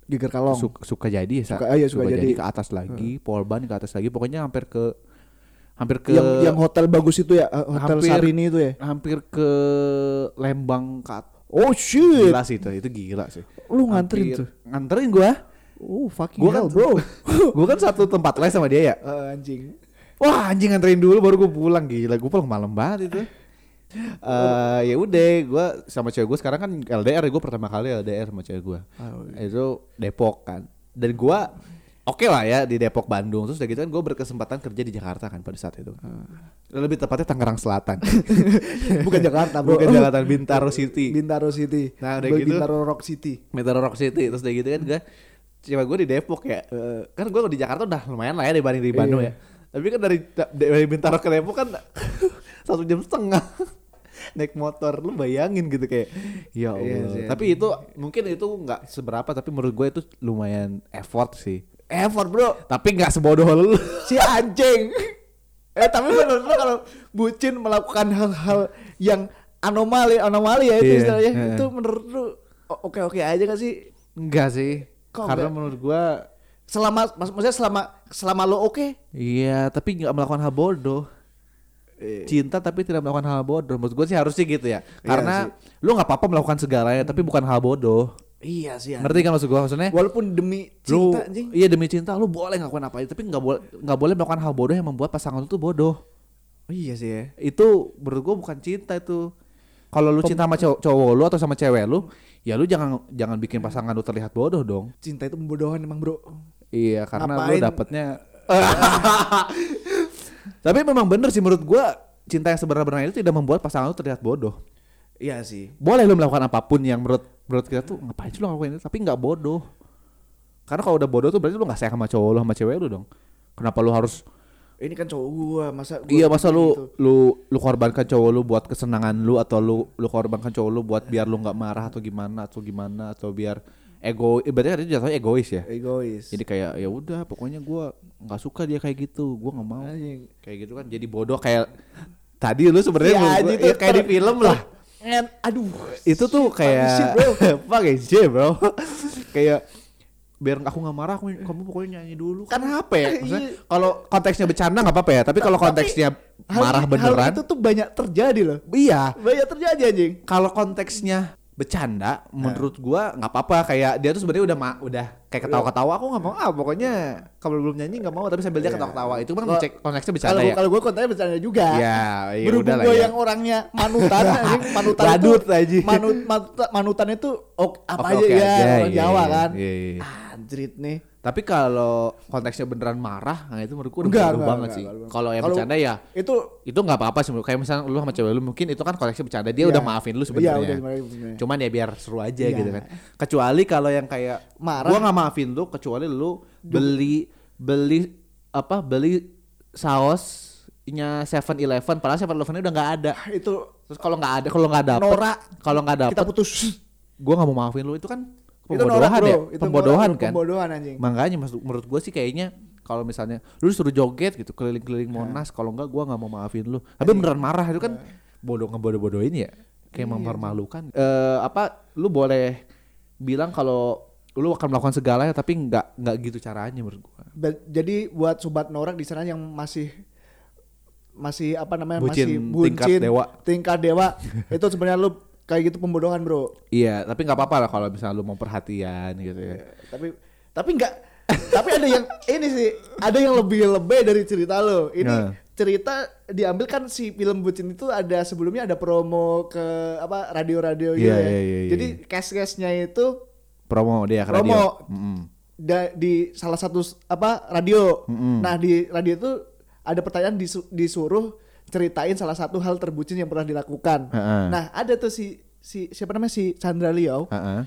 [SPEAKER 2] Geger kalong.
[SPEAKER 1] suka, suka jadi ya Sa?
[SPEAKER 2] Suka- ah, iya, suka jadi.
[SPEAKER 1] ke atas lagi Polban ke atas lagi pokoknya hampir ke hampir ke
[SPEAKER 2] yang yang hotel bagus itu ya, eh, hotel
[SPEAKER 1] Hampir.
[SPEAKER 2] Sarini itu ya.
[SPEAKER 1] hampir ke Lembang ke at-
[SPEAKER 2] Oh shit.
[SPEAKER 1] gila sih itu itu gila sih
[SPEAKER 2] Lu nganterin
[SPEAKER 1] Hampir-
[SPEAKER 2] tuh?
[SPEAKER 1] nganterin gua
[SPEAKER 2] Oh fucking
[SPEAKER 1] gua kan
[SPEAKER 2] hell, bro.
[SPEAKER 1] gua kan satu tempat les sama dia ya
[SPEAKER 2] Eh, anjing.
[SPEAKER 1] Wah anjing nganterin dulu baru gue pulang gila gue pulang malam banget itu. Eh ya udah gue sama cewek gue sekarang kan LDR gue pertama kali LDR sama cewek gue
[SPEAKER 2] Oh,
[SPEAKER 1] itu Depok kan dan gue oke lah ya di Depok Bandung terus udah gitu kan gue berkesempatan kerja di Jakarta kan pada saat itu lebih tepatnya Tangerang Selatan
[SPEAKER 2] Bukan Jakarta, bro.
[SPEAKER 1] bukan Jakarta Bintaro City
[SPEAKER 2] Bintaro City.
[SPEAKER 1] Nah, udah
[SPEAKER 2] Bukan
[SPEAKER 1] gitu.
[SPEAKER 2] Bintaro Rock City.
[SPEAKER 1] Metro Rock City terus udah gitu kan gue coba gue di Depok ya Eh, kan gue di Jakarta udah lumayan lah ya dibanding di Bandung ya
[SPEAKER 2] Iya.
[SPEAKER 1] tapi kan dari dari Bintaro ke Depok kan satu jam setengah naik motor lu bayangin gitu kayak ya Allah
[SPEAKER 2] Iya sih,
[SPEAKER 1] tapi itu mungkin itu nggak seberapa tapi menurut gue itu lumayan effort sih effort bro tapi nggak sebodoh lu
[SPEAKER 2] Si anjing. eh tapi menurut lu kalau bucin melakukan hal-hal yang anomali anomali ya itu
[SPEAKER 1] Iya,
[SPEAKER 2] istilahnya
[SPEAKER 1] iya.
[SPEAKER 2] itu menurut lu oke oke aja gak sih
[SPEAKER 1] enggak sih
[SPEAKER 2] Kok
[SPEAKER 1] karena
[SPEAKER 2] nggak?
[SPEAKER 1] menurut gue
[SPEAKER 2] selama mak- maksudnya selama selama lo oke
[SPEAKER 1] iya tapi nggak melakukan hal bodoh cinta tapi tidak melakukan hal bodoh menurut gue sih harusnya gitu ya
[SPEAKER 2] Iya
[SPEAKER 1] karena lu nggak apa-apa melakukan segalanya tapi bukan hal bodoh
[SPEAKER 2] iya sih anjing.
[SPEAKER 1] ngerti kan maksud gue maksudnya
[SPEAKER 2] walaupun demi
[SPEAKER 1] lu
[SPEAKER 2] cinta anjing
[SPEAKER 1] iya demi cinta lu boleh ngakuin apa aja tapi nggak boleh nggak boleh melakukan hal bodoh yang membuat pasangan lu tuh bodoh Oh,
[SPEAKER 2] iya sih ya
[SPEAKER 1] itu menurut gue bukan cinta itu kalau lu cinta sama cow- cowok lu atau sama cewek lu ya lu jangan jangan bikin pasangan lu terlihat bodoh dong
[SPEAKER 2] cinta itu pembodohan emang bro
[SPEAKER 1] Iya karena lu
[SPEAKER 2] Ngapain?
[SPEAKER 1] dapetnya Tapi memang bener sih menurut gua Cinta yang sebenarnya itu tidak membuat pasangan lu terlihat bodoh
[SPEAKER 2] iya sih
[SPEAKER 1] Boleh lu melakukan apapun yang menurut menurut kita tuh Ngapain sih lu ngelakuin itu tapi nggak bodoh Karena kalau udah bodoh tuh berarti lu nggak sayang sama cowok lu sama cewek lu dong Kenapa lu harus
[SPEAKER 2] ini kan cowok gua masa gua
[SPEAKER 1] Iya masa lu
[SPEAKER 2] gitu?
[SPEAKER 1] lu lu korbankan cowok lu buat kesenangan lu atau lu lu korbankan cowok lu
[SPEAKER 2] Iya.
[SPEAKER 1] buat biar lu nggak marah atau gimana atau gimana atau biar ego berarti kan itu jatuhnya egois ya
[SPEAKER 2] egois
[SPEAKER 1] jadi kayak ya udah pokoknya gua nggak suka dia kayak gitu gua nggak mau
[SPEAKER 2] anjing
[SPEAKER 1] kayak gitu kan jadi bodoh kayak tadi lu sebenarnya
[SPEAKER 2] Iya,
[SPEAKER 1] mau gua- ya,
[SPEAKER 2] anjing, tuh
[SPEAKER 1] kayak di
[SPEAKER 2] ter-
[SPEAKER 1] film lah
[SPEAKER 2] En, aduh
[SPEAKER 1] itu tuh kayak
[SPEAKER 2] shit, bro.
[SPEAKER 1] pakai shit bro kayak biar aku nggak marah
[SPEAKER 2] Eh.
[SPEAKER 1] aku- kamu pokoknya nyanyi dulu kan apa ya maksudnya
[SPEAKER 2] Iya.
[SPEAKER 1] kalau konteksnya bercanda nggak apa-apa ya tapi kalau konteksnya
[SPEAKER 2] Hal-
[SPEAKER 1] marah beneran
[SPEAKER 2] hal itu tuh banyak terjadi loh
[SPEAKER 1] iya
[SPEAKER 2] banyak terjadi anjing
[SPEAKER 1] kalau konteksnya
[SPEAKER 2] Eh.
[SPEAKER 1] bercanda menurut gua nggak apa-apa kayak dia tuh sebenarnya udah ma udah
[SPEAKER 2] Iya.
[SPEAKER 1] kayak ketawa-ketawa aku nggak mau ah pokoknya kalau belum nyanyi nggak mau tapi sambil dia ketawa-ketawa itu kan
[SPEAKER 2] Iya. Kalau-
[SPEAKER 1] cek konteksnya bercanda
[SPEAKER 2] kalau
[SPEAKER 1] ya
[SPEAKER 2] kalau gue kontennya bercanda juga
[SPEAKER 1] Ya, iya
[SPEAKER 2] berhubung
[SPEAKER 1] udahlah
[SPEAKER 2] gue
[SPEAKER 1] ya.
[SPEAKER 2] yang orangnya manutan anjing manutan
[SPEAKER 1] Badut,
[SPEAKER 2] itu
[SPEAKER 1] anjing.
[SPEAKER 2] manut, manut- manutan itu ok, apa aja
[SPEAKER 1] Oke-oke
[SPEAKER 2] ya
[SPEAKER 1] aja,
[SPEAKER 2] orang
[SPEAKER 1] iya,
[SPEAKER 2] Jawa
[SPEAKER 1] iya,
[SPEAKER 2] kan
[SPEAKER 1] iya, iya.
[SPEAKER 2] anjrit nih
[SPEAKER 1] tapi kalau konteksnya beneran marah nah itu menurut gua udah
[SPEAKER 2] Enggak,
[SPEAKER 1] bodoh
[SPEAKER 2] enggak,
[SPEAKER 1] banget
[SPEAKER 2] enggak,
[SPEAKER 1] sih
[SPEAKER 2] enggak, enggak.
[SPEAKER 1] kalau yang
[SPEAKER 2] Kalau-
[SPEAKER 1] bercanda ya
[SPEAKER 2] itu
[SPEAKER 1] itu nggak apa-apa sih menurut- kayak misalnya lu sama cewek lu mungkin itu kan konteksnya bercanda dia
[SPEAKER 2] Iya.
[SPEAKER 1] udah maafin lu
[SPEAKER 2] Iya,
[SPEAKER 1] sebenarnya
[SPEAKER 2] udah maafin sebenarnya.
[SPEAKER 1] cuman ya biar seru aja
[SPEAKER 2] Iya.
[SPEAKER 1] gitu kan kecuali kalau yang kayak
[SPEAKER 2] Marah.
[SPEAKER 1] gua nggak maafin lu kecuali lu beli beli apa beli sausnya Seven Eleven padahal Seven Eleven udah nggak ada
[SPEAKER 2] itu
[SPEAKER 1] terus kalau nggak ada kalau nggak dapet
[SPEAKER 2] Norak.
[SPEAKER 1] kalau nggak
[SPEAKER 2] kita
[SPEAKER 1] dapet
[SPEAKER 2] putus
[SPEAKER 1] gua nggak mau maafin lu itu kan
[SPEAKER 2] Itu
[SPEAKER 1] pembodohan
[SPEAKER 2] norak,
[SPEAKER 1] ya
[SPEAKER 2] bro. Itu
[SPEAKER 1] pembodohan
[SPEAKER 2] norak,
[SPEAKER 1] kan
[SPEAKER 2] pembodohan, anjing.
[SPEAKER 1] makanya mas- menurut gue sih kayaknya kalau misalnya lu suruh joget gitu keliling-keliling
[SPEAKER 2] Iya.
[SPEAKER 1] monas kalau enggak gua nggak mau maafin lu tapi beneran marah itu kan
[SPEAKER 2] Iya.
[SPEAKER 1] bodoh ngebodoh-bodohin ya kayak mempermalukan Eh, apa lu boleh bilang kalau lu akan melakukan segalanya tapi nggak nggak gitu caranya menurut gua
[SPEAKER 2] Ba- jadi buat sobat norak di sana yang masih masih apa namanya
[SPEAKER 1] Bucin
[SPEAKER 2] masih
[SPEAKER 1] tingkat dewa.
[SPEAKER 2] tingkat dewa itu sebenarnya lu kayak gitu pembodohan bro
[SPEAKER 1] Iya, tapi nggak apa-apa lah kalau misalnya lu mau perhatian gitu ya.
[SPEAKER 2] tapi tapi nggak tapi ada yang ini sih ada yang lebih lebih dari cerita lo ini
[SPEAKER 1] Nah.
[SPEAKER 2] cerita diambil kan si film bucin itu ada sebelumnya ada promo ke apa radio-radio gitu
[SPEAKER 1] Iya,
[SPEAKER 2] ya
[SPEAKER 1] iya, iya, iya.
[SPEAKER 2] jadi case-case-nya itu
[SPEAKER 1] Promo dia ke radio.
[SPEAKER 2] Promo.
[SPEAKER 1] Mm-mm.
[SPEAKER 2] da- di salah satu s- apa radio
[SPEAKER 1] Mm-mm.
[SPEAKER 2] nah di radio itu ada pertanyaan disu- disuruh ceritain salah satu hal terbucin yang pernah dilakukan
[SPEAKER 1] Heeh.
[SPEAKER 2] nah ada tuh si si siapa namanya si Chandra Liao
[SPEAKER 1] Heeh.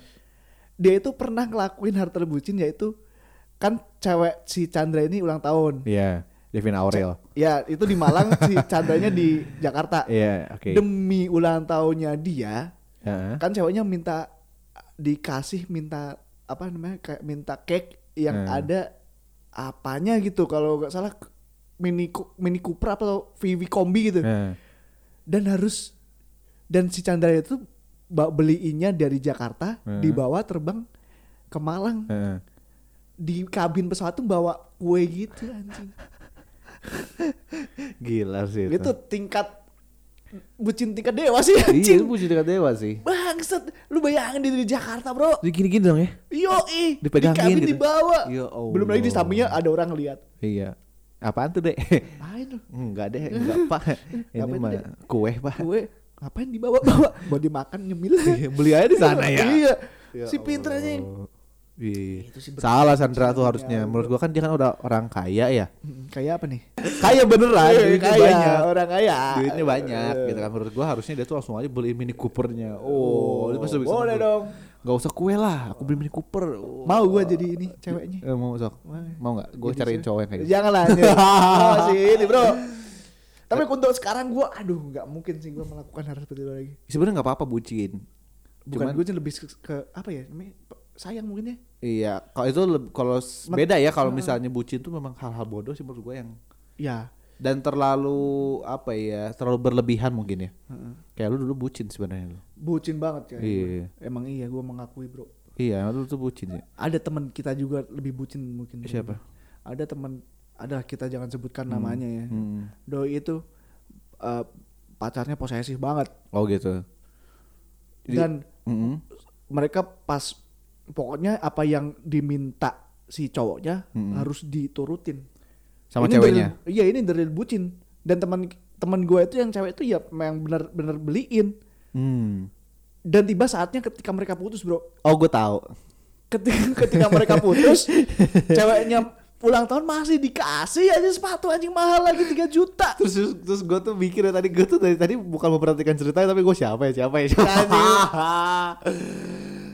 [SPEAKER 2] dia itu pernah ngelakuin hal terbucin yaitu kan cewek si Chandra ini ulang tahun.
[SPEAKER 1] Iya, Devin Aurel.
[SPEAKER 2] Ya, itu di Malang si Chandranya di Jakarta.
[SPEAKER 1] Iya, oke.
[SPEAKER 2] Demi ulang tahunnya dia,
[SPEAKER 1] Heeh.
[SPEAKER 2] kan ceweknya minta dikasih minta apa namanya kayak minta cake
[SPEAKER 1] Hmm.
[SPEAKER 2] yang ada apanya gitu kalau nggak salah mini Cu- mini Cooper atau VW kombi gitu.
[SPEAKER 1] Heeh.
[SPEAKER 2] Dan harus dan si Chandra itu ba- beliinnya dari Jakarta
[SPEAKER 1] Hmm.
[SPEAKER 2] dibawa terbang ke Malang
[SPEAKER 1] Heeh.
[SPEAKER 2] di kabin pesawat tuh bawa kue gitu anjing.
[SPEAKER 1] Gila sih itu.
[SPEAKER 2] Itu tingkat bucin tingkat dewa sih
[SPEAKER 1] Gitu. Iya, itu
[SPEAKER 2] anjing.
[SPEAKER 1] puji dekat dewa sih.
[SPEAKER 2] Bangsat, lu bayangin dia di Jakarta, Bro.
[SPEAKER 1] Jadi gini-gini dong ya.
[SPEAKER 2] Yo, eh,
[SPEAKER 1] Dipegangin
[SPEAKER 2] di kabin
[SPEAKER 1] gitu.
[SPEAKER 2] dibawa.
[SPEAKER 1] Ya Allah.
[SPEAKER 2] Belum lagi di sampingnya ada orang lihat.
[SPEAKER 1] Iya. Apaan tuh, Dek?
[SPEAKER 2] Main lu.
[SPEAKER 1] enggak deh, enggak, Pak. Ini
[SPEAKER 2] Ngapain,
[SPEAKER 1] mah
[SPEAKER 2] Dek?
[SPEAKER 1] kue, Pak.
[SPEAKER 2] Gue ngapain dibawa-bawa? Buat dimakan nyemil.
[SPEAKER 1] Iya, Beli aja di sana ya.
[SPEAKER 2] Iya.
[SPEAKER 1] Ya
[SPEAKER 2] si pinter
[SPEAKER 1] Allah.
[SPEAKER 2] anjing.
[SPEAKER 1] Iya.
[SPEAKER 2] Itu sih bener.
[SPEAKER 1] Salah Sandra tuh
[SPEAKER 2] Salah,
[SPEAKER 1] harusnya.
[SPEAKER 2] ya.
[SPEAKER 1] Menurut gua kan dia kan udah orang kaya ya.
[SPEAKER 2] Hmm, Kayak apa nih?
[SPEAKER 1] Kaya beneran,
[SPEAKER 2] Eh,
[SPEAKER 1] duitnya
[SPEAKER 2] kaya,
[SPEAKER 1] banyak.
[SPEAKER 2] orang kaya.
[SPEAKER 1] Duitnya banyak gitu kan.
[SPEAKER 2] Eh,
[SPEAKER 1] Menurut gua harusnya dia tuh langsung aja beli Mini Coopernya. Oh, dia pasti bisa
[SPEAKER 2] boleh
[SPEAKER 1] beli.
[SPEAKER 2] dong.
[SPEAKER 1] Gak usah kue lah, aku beli Mini Cooper. Oh.
[SPEAKER 2] Mau gua jadi ini ceweknya. Iya,
[SPEAKER 1] Eh, mau sok. Mau nggak? Gue
[SPEAKER 2] Jadi
[SPEAKER 1] cariin
[SPEAKER 2] sih.
[SPEAKER 1] cowok yang kayak gitu.
[SPEAKER 2] Janganlah anjir. Oh, sih ini bro. Tapi
[SPEAKER 1] Eh.
[SPEAKER 2] untuk sekarang gue, aduh nggak mungkin sih gue melakukan hal seperti itu lagi.
[SPEAKER 1] Sebenarnya nggak apa-apa bucin.
[SPEAKER 2] Bukan
[SPEAKER 1] Cuman-
[SPEAKER 2] gue lebih ke, ke- apa ya? namanya, pe- Sayang mungkin ya.
[SPEAKER 1] Iya, kalau itu leb- kalau s-
[SPEAKER 2] Mak-
[SPEAKER 1] beda ya kalau misalnya bucin tuh memang hal-hal bodoh sih menurut gue yang
[SPEAKER 2] Ya.
[SPEAKER 1] dan terlalu apa ya, terlalu berlebihan mungkin ya.
[SPEAKER 2] Heeh.
[SPEAKER 1] Kayak lu dulu bucin sebenarnya lu.
[SPEAKER 2] Bucin banget ya.
[SPEAKER 1] Iya.
[SPEAKER 2] Emang iya gue mengakui bro.
[SPEAKER 1] Iya, lu tuh bucin ya.
[SPEAKER 2] Ada teman kita juga lebih bucin mungkin.
[SPEAKER 1] Siapa?
[SPEAKER 2] Ada teman, ada kita jangan sebutkan namanya ya.
[SPEAKER 1] Hmm.
[SPEAKER 2] Doi itu eh, pacarnya posesif banget
[SPEAKER 1] Oh gitu. Jadi-
[SPEAKER 2] dan
[SPEAKER 1] Mm-mm.
[SPEAKER 2] mereka pas pokoknya apa yang diminta si cowoknya harus diturutin
[SPEAKER 1] Hmm. Sama
[SPEAKER 2] Ini
[SPEAKER 1] ceweknya?
[SPEAKER 2] dari- iya ini dari bucin dan teman teman gue itu yang cewek itu ya yang benar-benar beliin
[SPEAKER 1] Hmm.
[SPEAKER 2] dan tiba saatnya ketika mereka putus bro
[SPEAKER 1] Oh gue tahu.
[SPEAKER 2] ketika ketika mereka putus ceweknya ulang tahun masih dikasih aja sepatu anjing mahal lagi 3 juta
[SPEAKER 1] Terus terus, terus gue tuh mikir ya tadi gue tuh dari tadi bukan memperhatikan ceritanya tapi gue siapa ya siapa ya siapa.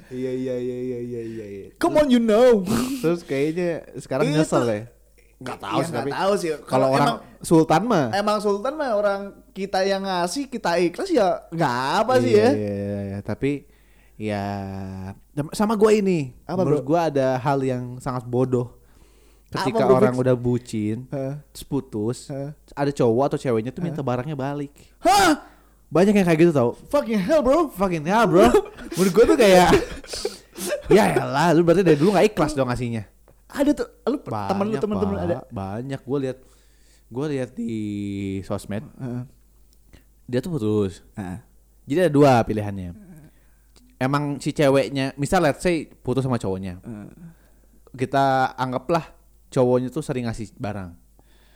[SPEAKER 1] iya iya iya iya iya iya. iya.
[SPEAKER 2] come on you know
[SPEAKER 1] Terus kayaknya sekarang
[SPEAKER 2] Itu-
[SPEAKER 1] nyesel ya.
[SPEAKER 2] Iya, nggak
[SPEAKER 1] tahu sih, tapi
[SPEAKER 2] tahu sih
[SPEAKER 1] Kalau orang
[SPEAKER 2] emang-
[SPEAKER 1] Sultan mah.
[SPEAKER 2] Emang Sultan mah orang kita yang ngasih kita ikhlas ya nggak apa sih
[SPEAKER 1] Iya,
[SPEAKER 2] ya.
[SPEAKER 1] Iya, iya, iya. tapi ya sama gue ini.
[SPEAKER 2] Apa,
[SPEAKER 1] menurut gue ada hal yang sangat bodoh.
[SPEAKER 2] Apa,
[SPEAKER 1] Ketika
[SPEAKER 2] bro?
[SPEAKER 1] orang udah bucin,
[SPEAKER 2] Heeh.
[SPEAKER 1] terus putus,
[SPEAKER 2] Heeh.
[SPEAKER 1] terus ada cowok atau ceweknya tuh minta barangnya balik.
[SPEAKER 2] Hah?
[SPEAKER 1] Banyak yang kayak gitu tau.
[SPEAKER 2] Fucking hell bro.
[SPEAKER 1] Fucking hell bro. menurut gue tuh kayak ya lah lu berarti dari dulu gak ikhlas dong ngasihnya.
[SPEAKER 2] Ada tuh lu temen lu
[SPEAKER 1] Banyak,
[SPEAKER 2] temen-temen
[SPEAKER 1] Pak.
[SPEAKER 2] ada.
[SPEAKER 1] Banyak gue lihat gue lihat di sosmed
[SPEAKER 2] Heeh.
[SPEAKER 1] dia tuh putus. Jadi ada dua pilihannya. Emang si ceweknya, misal let's say putus sama cowoknya. Kita anggaplah cowoknya tuh sering ngasih barang.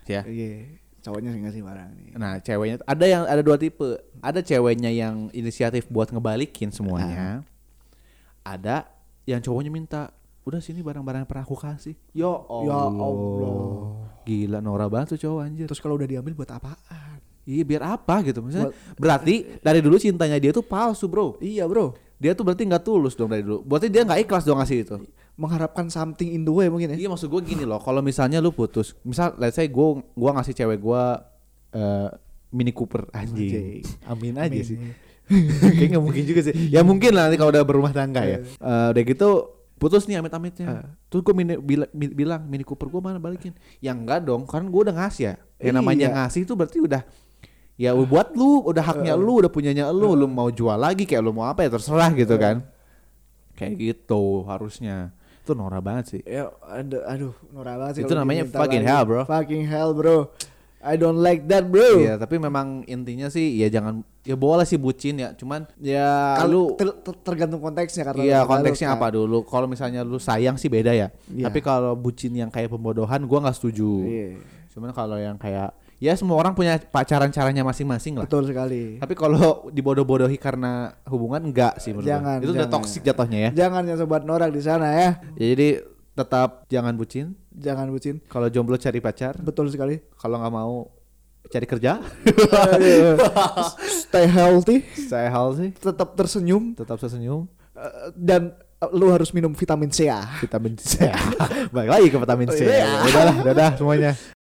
[SPEAKER 1] Ya.
[SPEAKER 2] Iya. Cowoknya sih ngasih barang nih.
[SPEAKER 1] Nah, ceweknya ada yang ada dua tipe. Ada ceweknya yang inisiatif buat ngebalikin semuanya.
[SPEAKER 2] Ah.
[SPEAKER 1] Ada yang cowoknya minta, "Udah sini barang-barang yang pernah aku kasih." Yo
[SPEAKER 2] Ya
[SPEAKER 1] Allah.
[SPEAKER 2] Allah.
[SPEAKER 1] Gila Nora banget tuh cowok anjir.
[SPEAKER 2] Terus kalau udah diambil buat apaan?
[SPEAKER 1] Iya biar apa gitu maksudnya. Berarti dari dulu cintanya dia tuh palsu, Bro.
[SPEAKER 2] Iya bro.
[SPEAKER 1] dia tuh berarti nggak tulus dong dari dulu. Berarti dia nggak ikhlas dong ngasih itu.
[SPEAKER 2] Mengharapkan something in the way mungkin ya.
[SPEAKER 1] Iya maksud gue gini loh, kalau misalnya lu putus, misal let's say gue gua ngasih cewek gue Mini Cooper anjing. Amin aja
[SPEAKER 2] Amin.
[SPEAKER 1] sih. Kayaknya nggak mungkin juga sih. Ya mungkin lah nanti kalau udah berumah tangga ya. Eh, udah gitu putus nih amit-amitnya. Terus gue bilang Mini Cooper gue mana balikin? Ya enggak dong, kan gue udah ngasih ya. Yang namanya
[SPEAKER 2] Iya.
[SPEAKER 1] ngasih itu berarti udah ya buat lu, udah haknya lu, udah punyanya lu, lu mau jual lagi kayak lu mau apa ya terserah gitu kan. Kayak gitu harusnya. Itu norak banget sih.
[SPEAKER 2] Ya, aduh, aduh, norak banget sih
[SPEAKER 1] Itu
[SPEAKER 2] kalau
[SPEAKER 1] namanya
[SPEAKER 2] diminta
[SPEAKER 1] fucking
[SPEAKER 2] balik.
[SPEAKER 1] hell, bro.
[SPEAKER 2] Fucking hell, bro. I don't like that bro.
[SPEAKER 1] Iya, tapi memang intinya sih ya jangan ya boleh sih bucin ya, cuman
[SPEAKER 2] Ya
[SPEAKER 1] Kalau-
[SPEAKER 2] kalau ter- ter- tergantung konteksnya karena
[SPEAKER 1] Iya konteksnya apa dulu? Kalau misalnya lu sayang sih beda ya.
[SPEAKER 2] Iya.
[SPEAKER 1] Tapi kalau bucin yang kayak pembodohan, gua nggak setuju.
[SPEAKER 2] Iya.
[SPEAKER 1] Cuman kalau yang kayak ya semua orang punya pacaran caranya masing-masing lah.
[SPEAKER 2] Betul sekali.
[SPEAKER 1] Tapi kalau dibodoh-bodohi karena hubungan enggak sih menurut gua.
[SPEAKER 2] Jangan,
[SPEAKER 1] Itu udah
[SPEAKER 2] jangan.
[SPEAKER 1] toksik jatuhnya ya.
[SPEAKER 2] Jangan ya sobat norak di sana ya.
[SPEAKER 1] Ya jadi tetap jangan bucin.
[SPEAKER 2] Jangan bucin.
[SPEAKER 1] Kalau jomblo cari pacar,
[SPEAKER 2] Betul sekali. Eh,
[SPEAKER 1] kalau nggak mau cari kerja.
[SPEAKER 2] iya, Stay healthy,
[SPEAKER 1] Saya hal sih
[SPEAKER 2] tetap tersenyum
[SPEAKER 1] tetap senyum
[SPEAKER 2] eh, dan eh, lu harus minum vitamin C ya.
[SPEAKER 1] vitamin C. Balik lagi ke vitamin C.
[SPEAKER 2] Iya.
[SPEAKER 1] Udahlah, dadah semuanya.